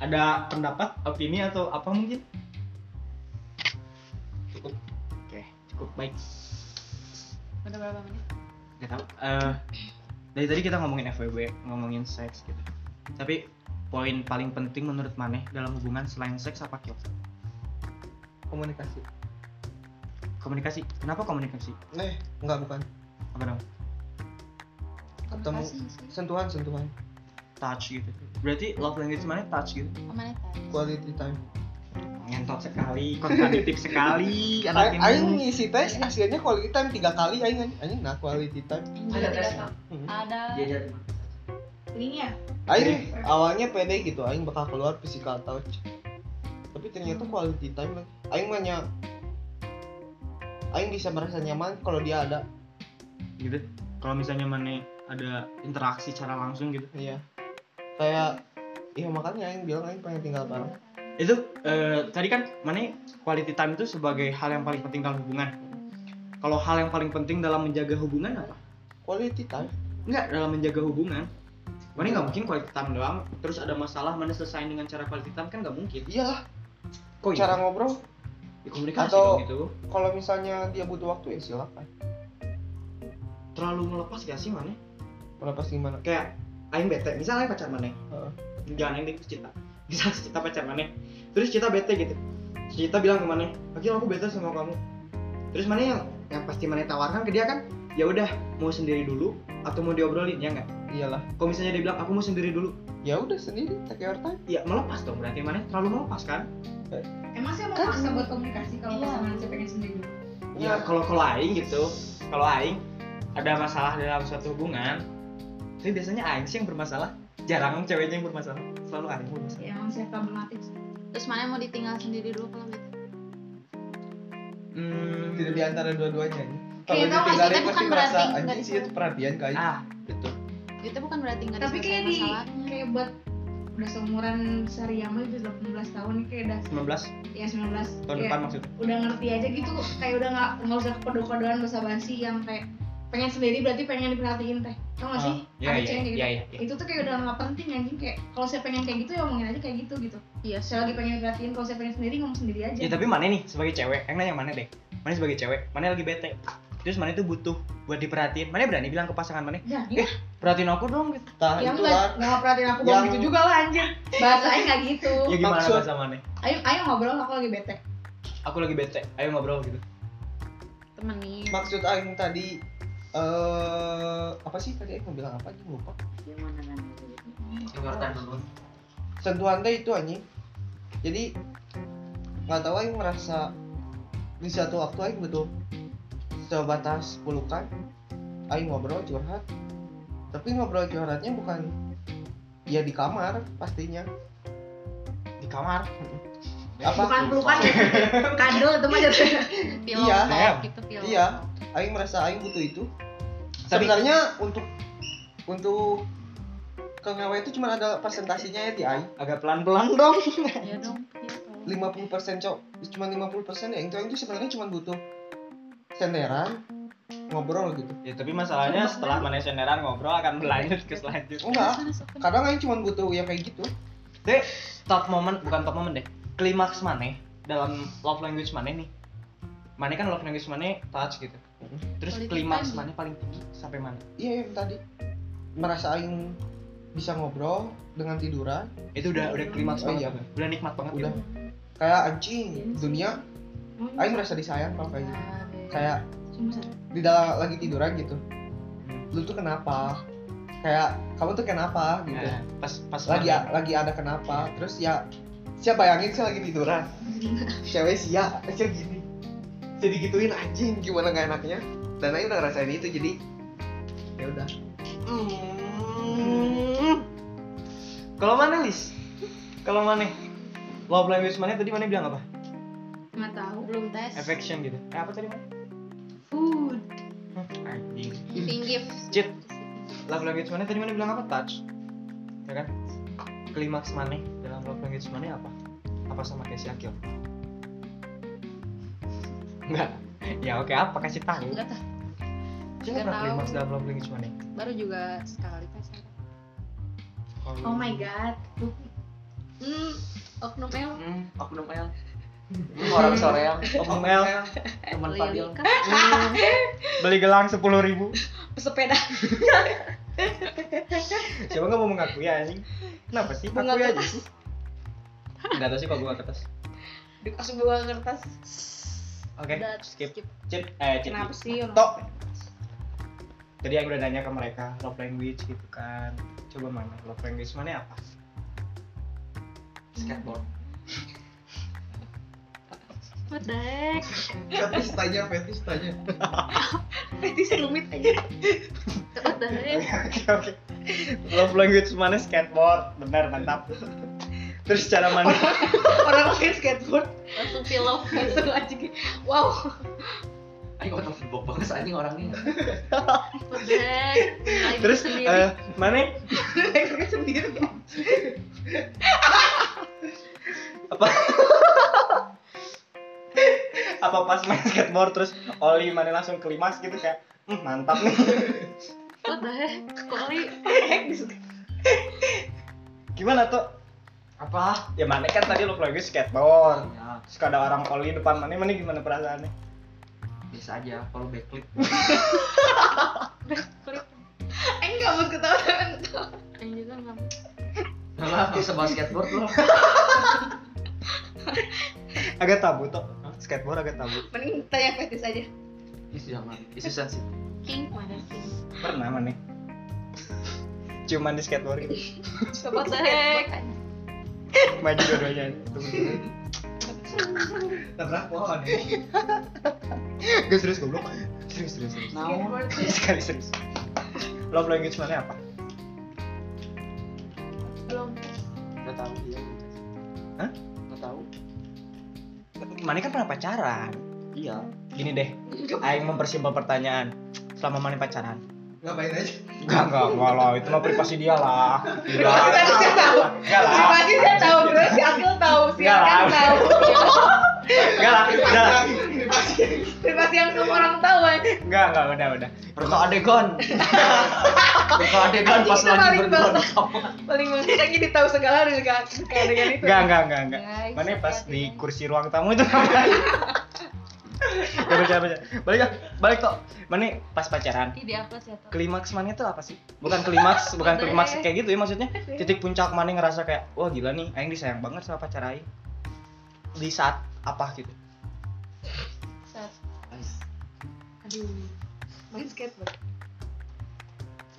Speaker 1: ada pendapat opini atau apa mungkin cukup oke cukup baik
Speaker 4: Udah berapa menit?
Speaker 1: nggak tahu Eh, dari tadi kita ngomongin FWB ngomongin seks gitu tapi poin paling penting menurut Maneh dalam hubungan selain seks apa Kyo?
Speaker 2: komunikasi
Speaker 1: komunikasi kenapa komunikasi
Speaker 2: eh enggak bukan
Speaker 1: apa dong
Speaker 2: Ketemu.
Speaker 4: Komunikasi sih.
Speaker 2: sentuhan sentuhan
Speaker 1: touch gitu berarti love language Maneh touch gitu
Speaker 4: Amanah tadi.
Speaker 2: quality time
Speaker 1: ngentot sekali kontradiktif sekali anak
Speaker 2: Aing aing
Speaker 1: ini
Speaker 2: ngisi tes hasilnya quality time tiga kali aing anjing. anjing nah quality time
Speaker 4: Ada
Speaker 1: Mhm.
Speaker 4: Ada.
Speaker 5: Iya,
Speaker 1: jajan
Speaker 3: linknya
Speaker 2: aing awalnya pede gitu aing bakal keluar physical touch tapi ternyata quality time lah. aing mah nya- aing bisa merasa nyaman kalau dia ada
Speaker 1: gitu kalau misalnya Maneh ada interaksi secara langsung gitu
Speaker 2: iya kayak iya makanya aing bilang aing pengen tinggal bareng
Speaker 1: itu eh, tadi kan Maneh quality time itu sebagai hal yang paling penting dalam hubungan kalau hal yang paling penting dalam menjaga hubungan apa
Speaker 2: quality time
Speaker 1: Enggak, dalam menjaga hubungan Mana nggak mungkin quality time doang Terus ada masalah, mana selesai dengan cara quality time kan nggak mungkin
Speaker 2: iyalah
Speaker 1: Kok
Speaker 2: cara ngobrol
Speaker 1: ya, komunikasi
Speaker 2: atau-
Speaker 1: dong itu
Speaker 2: kalau misalnya dia butuh waktu ya silakan
Speaker 1: Terlalu melepas gak sih mana?
Speaker 2: melepas gimana
Speaker 1: Kayak Aing bete, misalnya pacar mana
Speaker 2: Heeh.
Speaker 1: Jangan Aing deh, Cita Misalnya Cita pacar mana Terus Cita bete gitu Cita bilang ke mana Akhirnya aku bete sama kamu Terus mana yang, yang pasti mana tawarkan ke dia kan ya udah mau sendiri dulu atau mau diobrolin ya nggak
Speaker 2: iyalah
Speaker 1: kalau misalnya dia bilang aku mau sendiri dulu
Speaker 2: ya udah sendiri take your time
Speaker 1: ya melepas dong berarti mana terlalu melepas kan
Speaker 3: emang saya mau
Speaker 2: Kan-
Speaker 3: paksa buat komunikasi kalau
Speaker 4: Iya.
Speaker 3: pasangan saya pengen sendiri
Speaker 1: ya kalau kalau aing gitu kalau aing ada masalah dalam suatu hubungan tapi biasanya aing sih yang bermasalah jarang ceweknya yang bermasalah selalu aing yang bermasalah
Speaker 3: ya, emang saya problematik sih.
Speaker 4: Terus mana mau ditinggal sendiri dulu kalau gitu?
Speaker 1: hmm,
Speaker 2: tidak di antara dua-duanya ini.
Speaker 4: Kayak tau gak sih, tapi bukan berarti nggak
Speaker 2: anjing sih itu perhatian kali.
Speaker 1: ah
Speaker 2: Gitu.
Speaker 4: Itu bukan berarti nggak
Speaker 3: tapi kayak
Speaker 4: diselesaikan
Speaker 3: di
Speaker 4: masalahnya.
Speaker 3: kayak buat udah seumuran Sariyama itu 18 tahun kayak udah
Speaker 1: 19
Speaker 3: ya
Speaker 1: tahun
Speaker 3: 19 kayak
Speaker 1: depan maksudnya
Speaker 3: udah ngerti aja gitu kayak udah nggak nggak usah kode-kodean bahasa basi yang kayak pengen sendiri berarti pengen diperhatiin teh tau gak sih
Speaker 1: ya
Speaker 3: ada
Speaker 1: ya
Speaker 3: cewek kayak gitu
Speaker 1: ya ya, ya.
Speaker 3: itu tuh kayak udah nggak penting anjing kayak kalau saya pengen kayak gitu ya omongin aja kayak gitu gitu
Speaker 4: Iya,
Speaker 3: saya lagi pengen diperhatiin kalau saya pengen sendiri ngomong sendiri aja
Speaker 1: Ya, tapi mana nih sebagai cewek yang nanya mana deh mana sebagai cewek mana lagi bete terus mana itu butuh buat diperhatiin mana berani bilang ke pasangan mana
Speaker 3: ya, ya.
Speaker 1: perhatiin aku dong gitu
Speaker 2: Nah,
Speaker 4: Ya
Speaker 3: yang
Speaker 2: itu
Speaker 3: nggak
Speaker 2: kan
Speaker 3: nggak perhatiin aku banget
Speaker 2: Yang-
Speaker 3: gitu juga lah anjir bahasanya nggak gitu
Speaker 1: ya gimana
Speaker 2: Maksud-
Speaker 1: bahasa mana
Speaker 3: ayo ayo ngobrol aku lagi bete
Speaker 1: aku lagi bete ayo ngobrol gitu
Speaker 4: temenin.
Speaker 2: maksud aing tadi eh apa sih tadi aing mau bilang apa aja lupa.
Speaker 4: Gimana kan dulu?
Speaker 1: dengarkan dulu
Speaker 2: Sentuhan teh itu anjing. Jadi nggak tahu aing merasa di satu waktu aing butuh sebatas pelukan aing ngobrol curhat tapi ngobrol curhatnya bukan ya di kamar pastinya
Speaker 1: di kamar
Speaker 2: Apa?
Speaker 3: bukan pelukan ya. kado itu mah jatuhnya
Speaker 4: Pillow
Speaker 2: Iya.
Speaker 4: talk gitu, pillow
Speaker 2: Iya.
Speaker 4: talk.
Speaker 2: aing merasa aing butuh itu
Speaker 1: Tapi-
Speaker 2: sebenarnya untuk untuk ke ngewe itu cuma ada presentasinya ya di aing
Speaker 1: agak pelan pelan dong
Speaker 4: Iya dong, pillow talk.
Speaker 2: 50% cok cuma 50% ya itu aing tuh sebenarnya cuma butuh senderan ngobrol gitu
Speaker 1: Ya tapi masalahnya
Speaker 4: Cuma
Speaker 1: setelah mana senderan ngobrol akan berlanjut ke selanjutnya.
Speaker 2: enggak
Speaker 4: Terus, terus, terus.
Speaker 2: kadang aing cuma butuh yang kayak gitu
Speaker 1: Top moment bukan top moment deh. Klimaks mana dalam love language mana nih? Mana kan love language mana touch gitu. Terus
Speaker 4: Quality
Speaker 1: klimaks
Speaker 4: time.
Speaker 1: mana paling tinggi sampai mana?
Speaker 2: iya yang tadi merasa aing bisa ngobrol dengan tiduran
Speaker 1: Itu udah udah klimaks
Speaker 2: Oh,
Speaker 1: banget.
Speaker 5: ya,
Speaker 2: iya.
Speaker 1: kan? Udah nikmat banget
Speaker 2: Udah.
Speaker 1: gitu.
Speaker 2: kayak anjing dunia aing merasa disayang kalau kayak gitu kayak
Speaker 3: cuma satu
Speaker 2: di dalam lagi tiduran gitu
Speaker 1: Hmm.
Speaker 2: lu tuh kenapa kayak kamu tuh kenapa gitu
Speaker 1: Nah, pas pas
Speaker 2: lagi ya?
Speaker 1: mana-
Speaker 2: lagi ada kenapa terus ya saya bayangin saya lagi tiduran cewek sia saya gini jadi gituin anjing gimana nggak enaknya dan Aing udah ngerasain itu jadi ya udah
Speaker 5: Mm.
Speaker 1: Hmm. Kalau mana Lis? Kalau mana? Love language mana tadi mana bilang apa?
Speaker 3: nggak tahu
Speaker 4: belum tes.
Speaker 1: Affection gitu. Eh, apa tadi mana?
Speaker 3: food
Speaker 2: Hmm.
Speaker 4: receiving gift
Speaker 1: Cit.
Speaker 4: Receiving
Speaker 5: love language mana tadi mana bilang apa touch ya kan klimaks mana dalam love language mana apa apa sama kayak si Akil enggak ya oke apa kasih tahu
Speaker 4: gift. Nggak tahu.
Speaker 5: siapa
Speaker 4: nggak
Speaker 5: pernah
Speaker 4: tahu.
Speaker 5: klimaks dalam love language mana
Speaker 4: baru juga sekali pacaran
Speaker 3: Oh
Speaker 5: Kalau-
Speaker 3: my god. Duh,
Speaker 4: hmm oknum el
Speaker 5: Hmm, aku dong yang
Speaker 2: orang Soreang
Speaker 1: Om El
Speaker 2: teman Fadil
Speaker 4: Lilika
Speaker 1: beli gelang sepuluh ribu.
Speaker 4: sepeda
Speaker 1: Siapa nggak mau mengakui anjing? Kenapa sih?
Speaker 4: bunga
Speaker 1: Akui aja.
Speaker 4: kertas
Speaker 1: Nggak tahu sih kalau bunga kertas.
Speaker 4: langsung bunga kertas
Speaker 1: Oke,
Speaker 4: Udah,
Speaker 1: skip. Cip, eh, cip.
Speaker 4: kenapa sih orang
Speaker 1: Tok. Jadi yang udah nanya ke mereka love language gitu kan. Coba mana love language mana apa?
Speaker 5: skateboard
Speaker 4: pedek
Speaker 2: fetis tanya fetis tanya
Speaker 4: petis rumit aja pedek
Speaker 1: Oke, oke. Love language mana skateboard? Benar, mantap. Terus cara mana?
Speaker 4: orang pakai skateboard langsung pillow langsung aja gitu. wow
Speaker 5: ayo otak sibuk banget
Speaker 2: anjing orangnya
Speaker 4: pedek Lagi
Speaker 1: Terus eh
Speaker 4: sendiri.
Speaker 1: mana?
Speaker 4: Lagi sendiri
Speaker 1: Apa? apa pas main skateboard terus Oli mana langsung kelimas gitu kayak "Hmm, mantap nih
Speaker 4: pedek koli
Speaker 1: gimana tuh
Speaker 5: apa
Speaker 1: ya mana kan tadi love language skateboard
Speaker 5: ya
Speaker 1: terus ada orang Oli depan mana mana gimana perasaannya
Speaker 5: biasa aja kalau backflip
Speaker 3: eh enggak mau ketawa.
Speaker 4: yang juga nggak mau.
Speaker 5: lah aku sebab skateboard loh
Speaker 1: agak tabu tuh skateboard agak tabu
Speaker 3: Mending tanya fetis aja.
Speaker 5: isu zaman isu sensitif
Speaker 4: king mana king
Speaker 1: pernah mana cuman di skateboard gitu
Speaker 4: pedek
Speaker 1: maju dua-duanya tunggu
Speaker 2: terang pohon
Speaker 1: Gak serius goblok Serius serius serius
Speaker 5: naon
Speaker 1: Sekali serius Love language mana apa?
Speaker 4: belum
Speaker 5: nggak tahu iya
Speaker 1: Hah?
Speaker 5: nggak tahu
Speaker 1: Mana kan pernah pacaran
Speaker 5: iya
Speaker 1: Gini deh Aing mempersimpel pertanyaan Selama mana pacaran?
Speaker 2: ngapain aja
Speaker 1: Enggak, enggak, enggak lah Itu mah privasi dia lah Enggak
Speaker 3: Privasi dia
Speaker 1: Enggak
Speaker 3: tahu.
Speaker 1: lah
Speaker 3: Pasti saya tahu, terus si Akil tahu, si
Speaker 1: Enggak
Speaker 3: Akil
Speaker 1: lah.
Speaker 3: tahu.
Speaker 1: Enggak lah Enggak lah
Speaker 3: Privasi yang semua orang tahu eh. aja.
Speaker 1: Enggak, enggak, udah, udah
Speaker 5: Reka adegan Reka adegan pas
Speaker 3: Kita
Speaker 5: lagi
Speaker 3: paling
Speaker 5: berdua
Speaker 3: Paling mengejutkan jadi tahu segala hal juga kayak dengan itu.
Speaker 1: Enggak, enggak, enggak, enggak
Speaker 3: Ya,
Speaker 4: Guys,
Speaker 1: Mana pas
Speaker 4: hati-hati,
Speaker 1: di
Speaker 4: guys.
Speaker 1: kursi ruang tamu itu Ya baca, baca Balik, ah. balik toh Mana pas pacaran
Speaker 4: Ih, di apa sih atau
Speaker 1: klimaks mana itu apa sih? Bukan klimaks, bukan klimaks kayak gitu ya maksudnya.
Speaker 3: Iya.
Speaker 1: Titik puncak mana ngerasa kayak wah gila nih, aing disayang banget sama pacar aing. Di saat apa gitu?
Speaker 4: Set. aduh main skateboard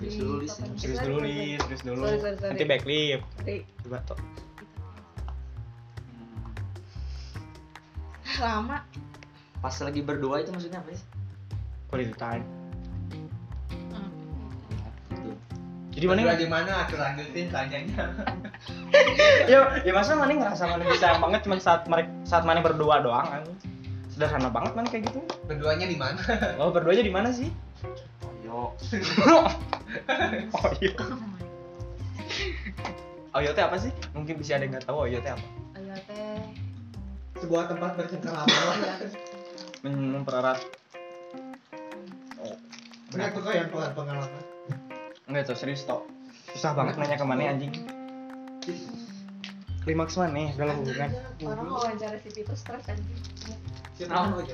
Speaker 5: Serius dulu, Lis.
Speaker 1: Serius dulu nih, serius dulu.
Speaker 3: Sorry, sorry, sorry.
Speaker 1: Nanti backflip.
Speaker 3: Sorry.
Speaker 1: Coba tuh.
Speaker 4: lama
Speaker 5: Pas lagi berdua itu maksudnya apa sih?
Speaker 1: Quality time.
Speaker 4: Hmm.
Speaker 1: Jadi mana
Speaker 2: Berdua di mana aku lanjutin tanyanya
Speaker 1: ya, ya masa mana ngerasa mana disayang banget cuman saat mereka saat mana berdua doang anjing. Sederhana banget man kayak gitu.
Speaker 2: berduanya di mana
Speaker 1: Oh, berduanya di mana sih?
Speaker 5: Yo,
Speaker 1: Oh iya. Oh iya teh apa sih? Mungkin bisa ada yang nggak tahu oh iya teh apa?
Speaker 4: Ayo teh.
Speaker 2: sebuah tempat bercengkerama
Speaker 1: Mem- Hmm, Mempererat
Speaker 2: Benar tuh kok yang pelan pengalaman
Speaker 1: Enggak tuh serius toh. Susah banget nanya ke mana anjing. Klimaks mana dalam hubungan?
Speaker 4: Orang wawancara si Vito stres anjing.
Speaker 2: Kenapa aja?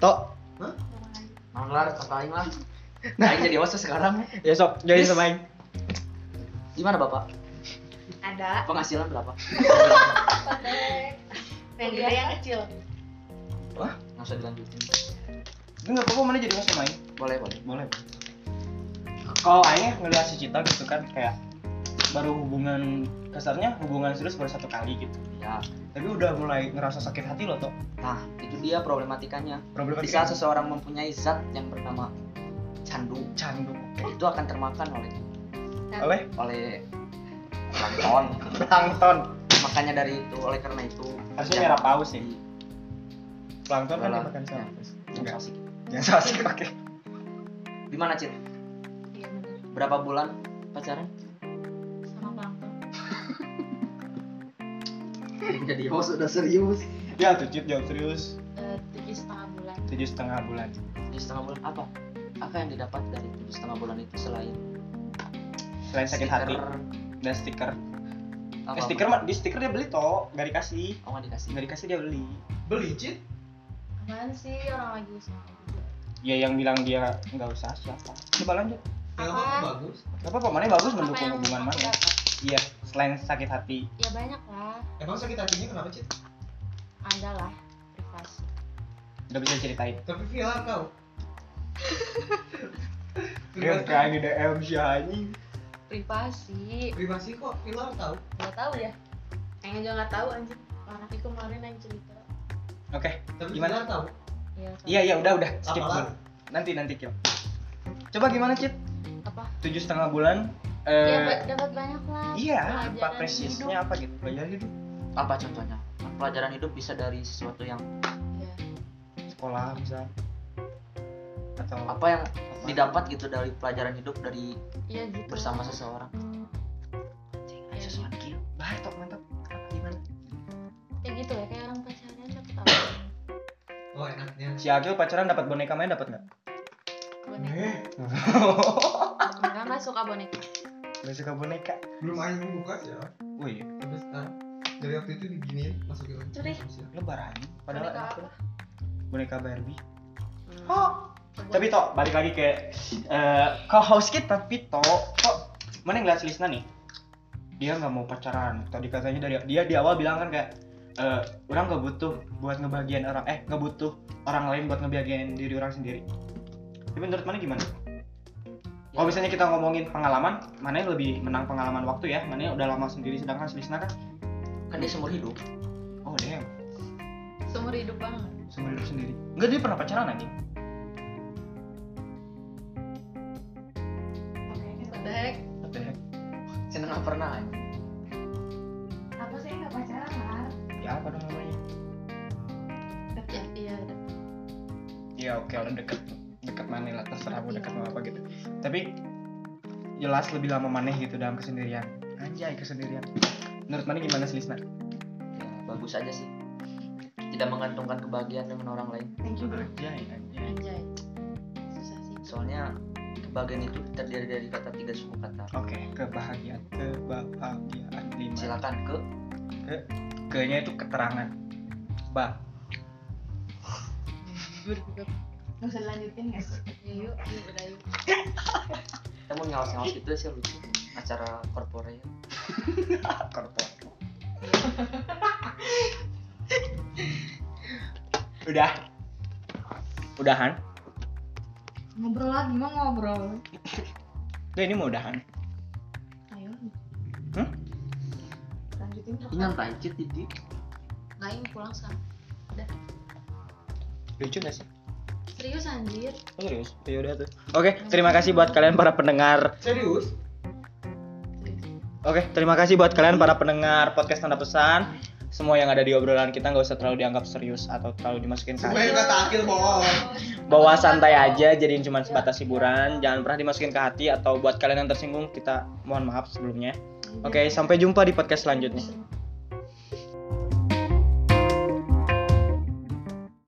Speaker 1: Tok,
Speaker 5: naon lah, kata Aing lah. Nah, Aing jadi host sekarang.
Speaker 1: ya sok, join sama Aing.
Speaker 5: Gimana Bapak?
Speaker 3: Ada
Speaker 5: Penghasilan berapa?
Speaker 3: yang gede yang kecil.
Speaker 5: Wah, nggak usah dilanjutin.
Speaker 1: Itu enggak apa-apa mana jadi host sama Aing.
Speaker 5: Boleh, boleh.
Speaker 1: Boleh. Kalau Aing ngeliat si Cita gitu kan kayak baru hubungan kasarnya hubungan serius baru satu kali gitu
Speaker 5: Ya.
Speaker 1: tapi udah mulai ngerasa sakit hati loh toh
Speaker 5: Nah, itu dia problematikanya.
Speaker 1: problem kan?
Speaker 5: Ketika seseorang mempunyai zat yang bernama candu,
Speaker 1: candu oke.
Speaker 5: itu akan termakan oleh
Speaker 1: oleh
Speaker 5: oleh plankton.
Speaker 1: plankton
Speaker 5: Makanya dari itu, oleh karena itu
Speaker 1: Harusnya
Speaker 5: jangan-
Speaker 1: merah paus ya? plankton kan
Speaker 5: Walah.
Speaker 1: dimakan sama
Speaker 5: Jangan
Speaker 1: enggak
Speaker 5: sosik.
Speaker 1: jangan salah Ya, sih oke
Speaker 7: Gimana Cit?
Speaker 4: Iya bener.
Speaker 7: Berapa bulan pacaran?
Speaker 4: Sama pelangton.
Speaker 7: Jadi host udah serius.
Speaker 1: Ya tuh Cit jawab serius.
Speaker 4: Eh, Tujuh setengah bulan.
Speaker 1: Tujuh setengah bulan.
Speaker 7: Tujuh setengah bulan apa? Apa yang didapat dari tujuh setengah bulan itu selain
Speaker 1: Selain sakit hati
Speaker 7: stiker,
Speaker 1: dan stiker.
Speaker 7: apa
Speaker 1: Eh, stiker mah di stiker dia beli toh, nggak dikasih.
Speaker 7: Oh nggak dikasih.
Speaker 1: Nggak dikasih dia beli.
Speaker 2: Beli cheat?
Speaker 4: Apaan sih orang lagi sama?
Speaker 1: Ya yang bilang dia nggak usah siapa. Coba lanjut.
Speaker 2: Yang
Speaker 4: Apa?
Speaker 2: apa bagus?
Speaker 1: Gak apa-apa, mana bagus
Speaker 4: Apa
Speaker 1: mendukung
Speaker 4: yang
Speaker 1: hubungan
Speaker 4: aku
Speaker 1: mana.
Speaker 4: dapat?
Speaker 1: Iya, selain sakit hati.
Speaker 4: Ya banyak lah.
Speaker 2: Emang sakit hatinya kenapa cheat?
Speaker 4: Ada lah privasi.
Speaker 1: Udah bisa ceritain.
Speaker 2: Tapi viral kau.
Speaker 1: Dia
Speaker 2: privasi,
Speaker 1: kayak di DM si anjing.
Speaker 4: Privasi.
Speaker 2: privasi kok viral kau?
Speaker 4: Gak tahu ya. Kayaknya juga nggak tahu anjir. Orang itu kemarin yang cerita.
Speaker 1: Oke,
Speaker 2: Tapi
Speaker 1: Gimana?
Speaker 2: viral kau?
Speaker 4: Iya.
Speaker 1: iya iya udah udah skip dulu.
Speaker 2: Apa?
Speaker 1: Nanti nanti Cil. Coba gimana Cit?
Speaker 4: Apa?
Speaker 1: Tujuh setengah bulan.
Speaker 4: Ya
Speaker 1: Eh,
Speaker 4: dapat banyak lah.
Speaker 1: iya,
Speaker 4: pelajaran
Speaker 1: apa presisnya
Speaker 4: hidup.
Speaker 1: apa gitu? Belajar hidup
Speaker 7: Apa contohnya? Pelajaran hidup bisa dari sesuatu yang
Speaker 4: Iya.
Speaker 1: sekolah misal atau
Speaker 7: apa yang didapat gitu dari pelajaran hidup dari
Speaker 4: Iya gitu.
Speaker 7: bersama seseorang.
Speaker 4: Iya, gitu.
Speaker 1: Baik, tok mantap. Gimana?
Speaker 4: Ya gitu ya kayak orang pacaran dapat apa?
Speaker 2: Oh enaknya.
Speaker 1: Si Agil pacaran dapat boneka main dapat nggak?
Speaker 4: Boneka.
Speaker 2: Eh,
Speaker 4: Enggak nggak suka boneka.
Speaker 1: Gak suka boneka.
Speaker 2: Belum aing buka ya.
Speaker 1: Wih,
Speaker 2: Terus sekarang dari waktu itu diginiin masukin lagi.
Speaker 4: Curi.
Speaker 1: lebaran. Padahal
Speaker 4: Boneka
Speaker 1: enak
Speaker 4: apa? Hmm.
Speaker 1: tuh. boneka Barbie.
Speaker 4: Boneka.
Speaker 1: Tapi toh balik lagi ke eh ke host kita tapi toh kok mana ngeliat si Lisna nih? Dia nggak mau pacaran. Tadi katanya dari dia di awal bilang kan kayak eh orang nggak butuh buat ngebagian orang eh nggak butuh orang lain buat ngebagian diri orang sendiri. Tapi menurut mana gimana?
Speaker 4: Ya.
Speaker 1: Kalau
Speaker 7: Ya,
Speaker 1: misalnya kita ngomongin pengalaman, mana yang lebih menang pengalaman waktu ya? Mana yang udah lama sendiri sedangkan si Lisna kan
Speaker 7: kan dia seumur hidup.
Speaker 1: oh damn,
Speaker 4: Seumur hidup banget.
Speaker 1: seumur hidup sendiri. Enggak dia pernah pacaran anjing.
Speaker 4: What the heck?
Speaker 1: What the heck?
Speaker 7: Seneng nggak pernah. ya?
Speaker 3: Aku sih nggak pacaran lah.
Speaker 1: Ya apa dong namanya?
Speaker 4: Ya, iya. ada.
Speaker 1: ya oke lah deket deket mana lah terserah mau deket mau apa gitu tapi jelas lebih lama maneh gitu dalam kesendirian anjay kesendirian menurut mana gimana sih Lisna?
Speaker 7: Ya, bagus aja sih. Tidak menggantungkan kebahagiaan dengan orang lain.
Speaker 1: anjay anjay
Speaker 4: Anjay. Susah sih.
Speaker 7: Soalnya kebahagiaan itu terdiri dari kata tiga suku kata.
Speaker 1: oke kebahagiaan kebahagiaan lima
Speaker 7: Silakan ke
Speaker 1: kayaknya itu keterangan bah
Speaker 3: Nggak usah lanjutin nggak sih?
Speaker 4: Ya, Yuk, yuk, udah yuk.
Speaker 7: kita mau nyawas-nyawas gitu sih lucu acara korporat.
Speaker 1: korpor udah udahan
Speaker 3: Ngobrol lagi mau ngobrol.
Speaker 1: Udah, ini mau udahan
Speaker 3: Ayo.
Speaker 1: Hmm?
Speaker 3: Lanjutin tuh.
Speaker 7: Ingat tancit jadi.
Speaker 4: Nggak ingin pulang sama.
Speaker 1: lucu gak sih
Speaker 4: Serius anjir.
Speaker 1: Oh, serius ya udah tuh oke terima kasih buat kalian para pendengar
Speaker 2: Serius?
Speaker 1: Oke, terima kasih buat kalian para pendengar podcast tanda pesan. Semua yang ada di obrolan kita nggak usah terlalu dianggap serius atau terlalu dimasukin ke hati.
Speaker 2: Semuanya kata akil bohong.
Speaker 1: Bawa santai aja, jadiin cuma sebatas hiburan. Jangan pernah dimasukin ke hati atau buat kalian yang tersinggung kita mohon maaf sebelumnya. Oke, sampai jumpa di podcast selanjutnya.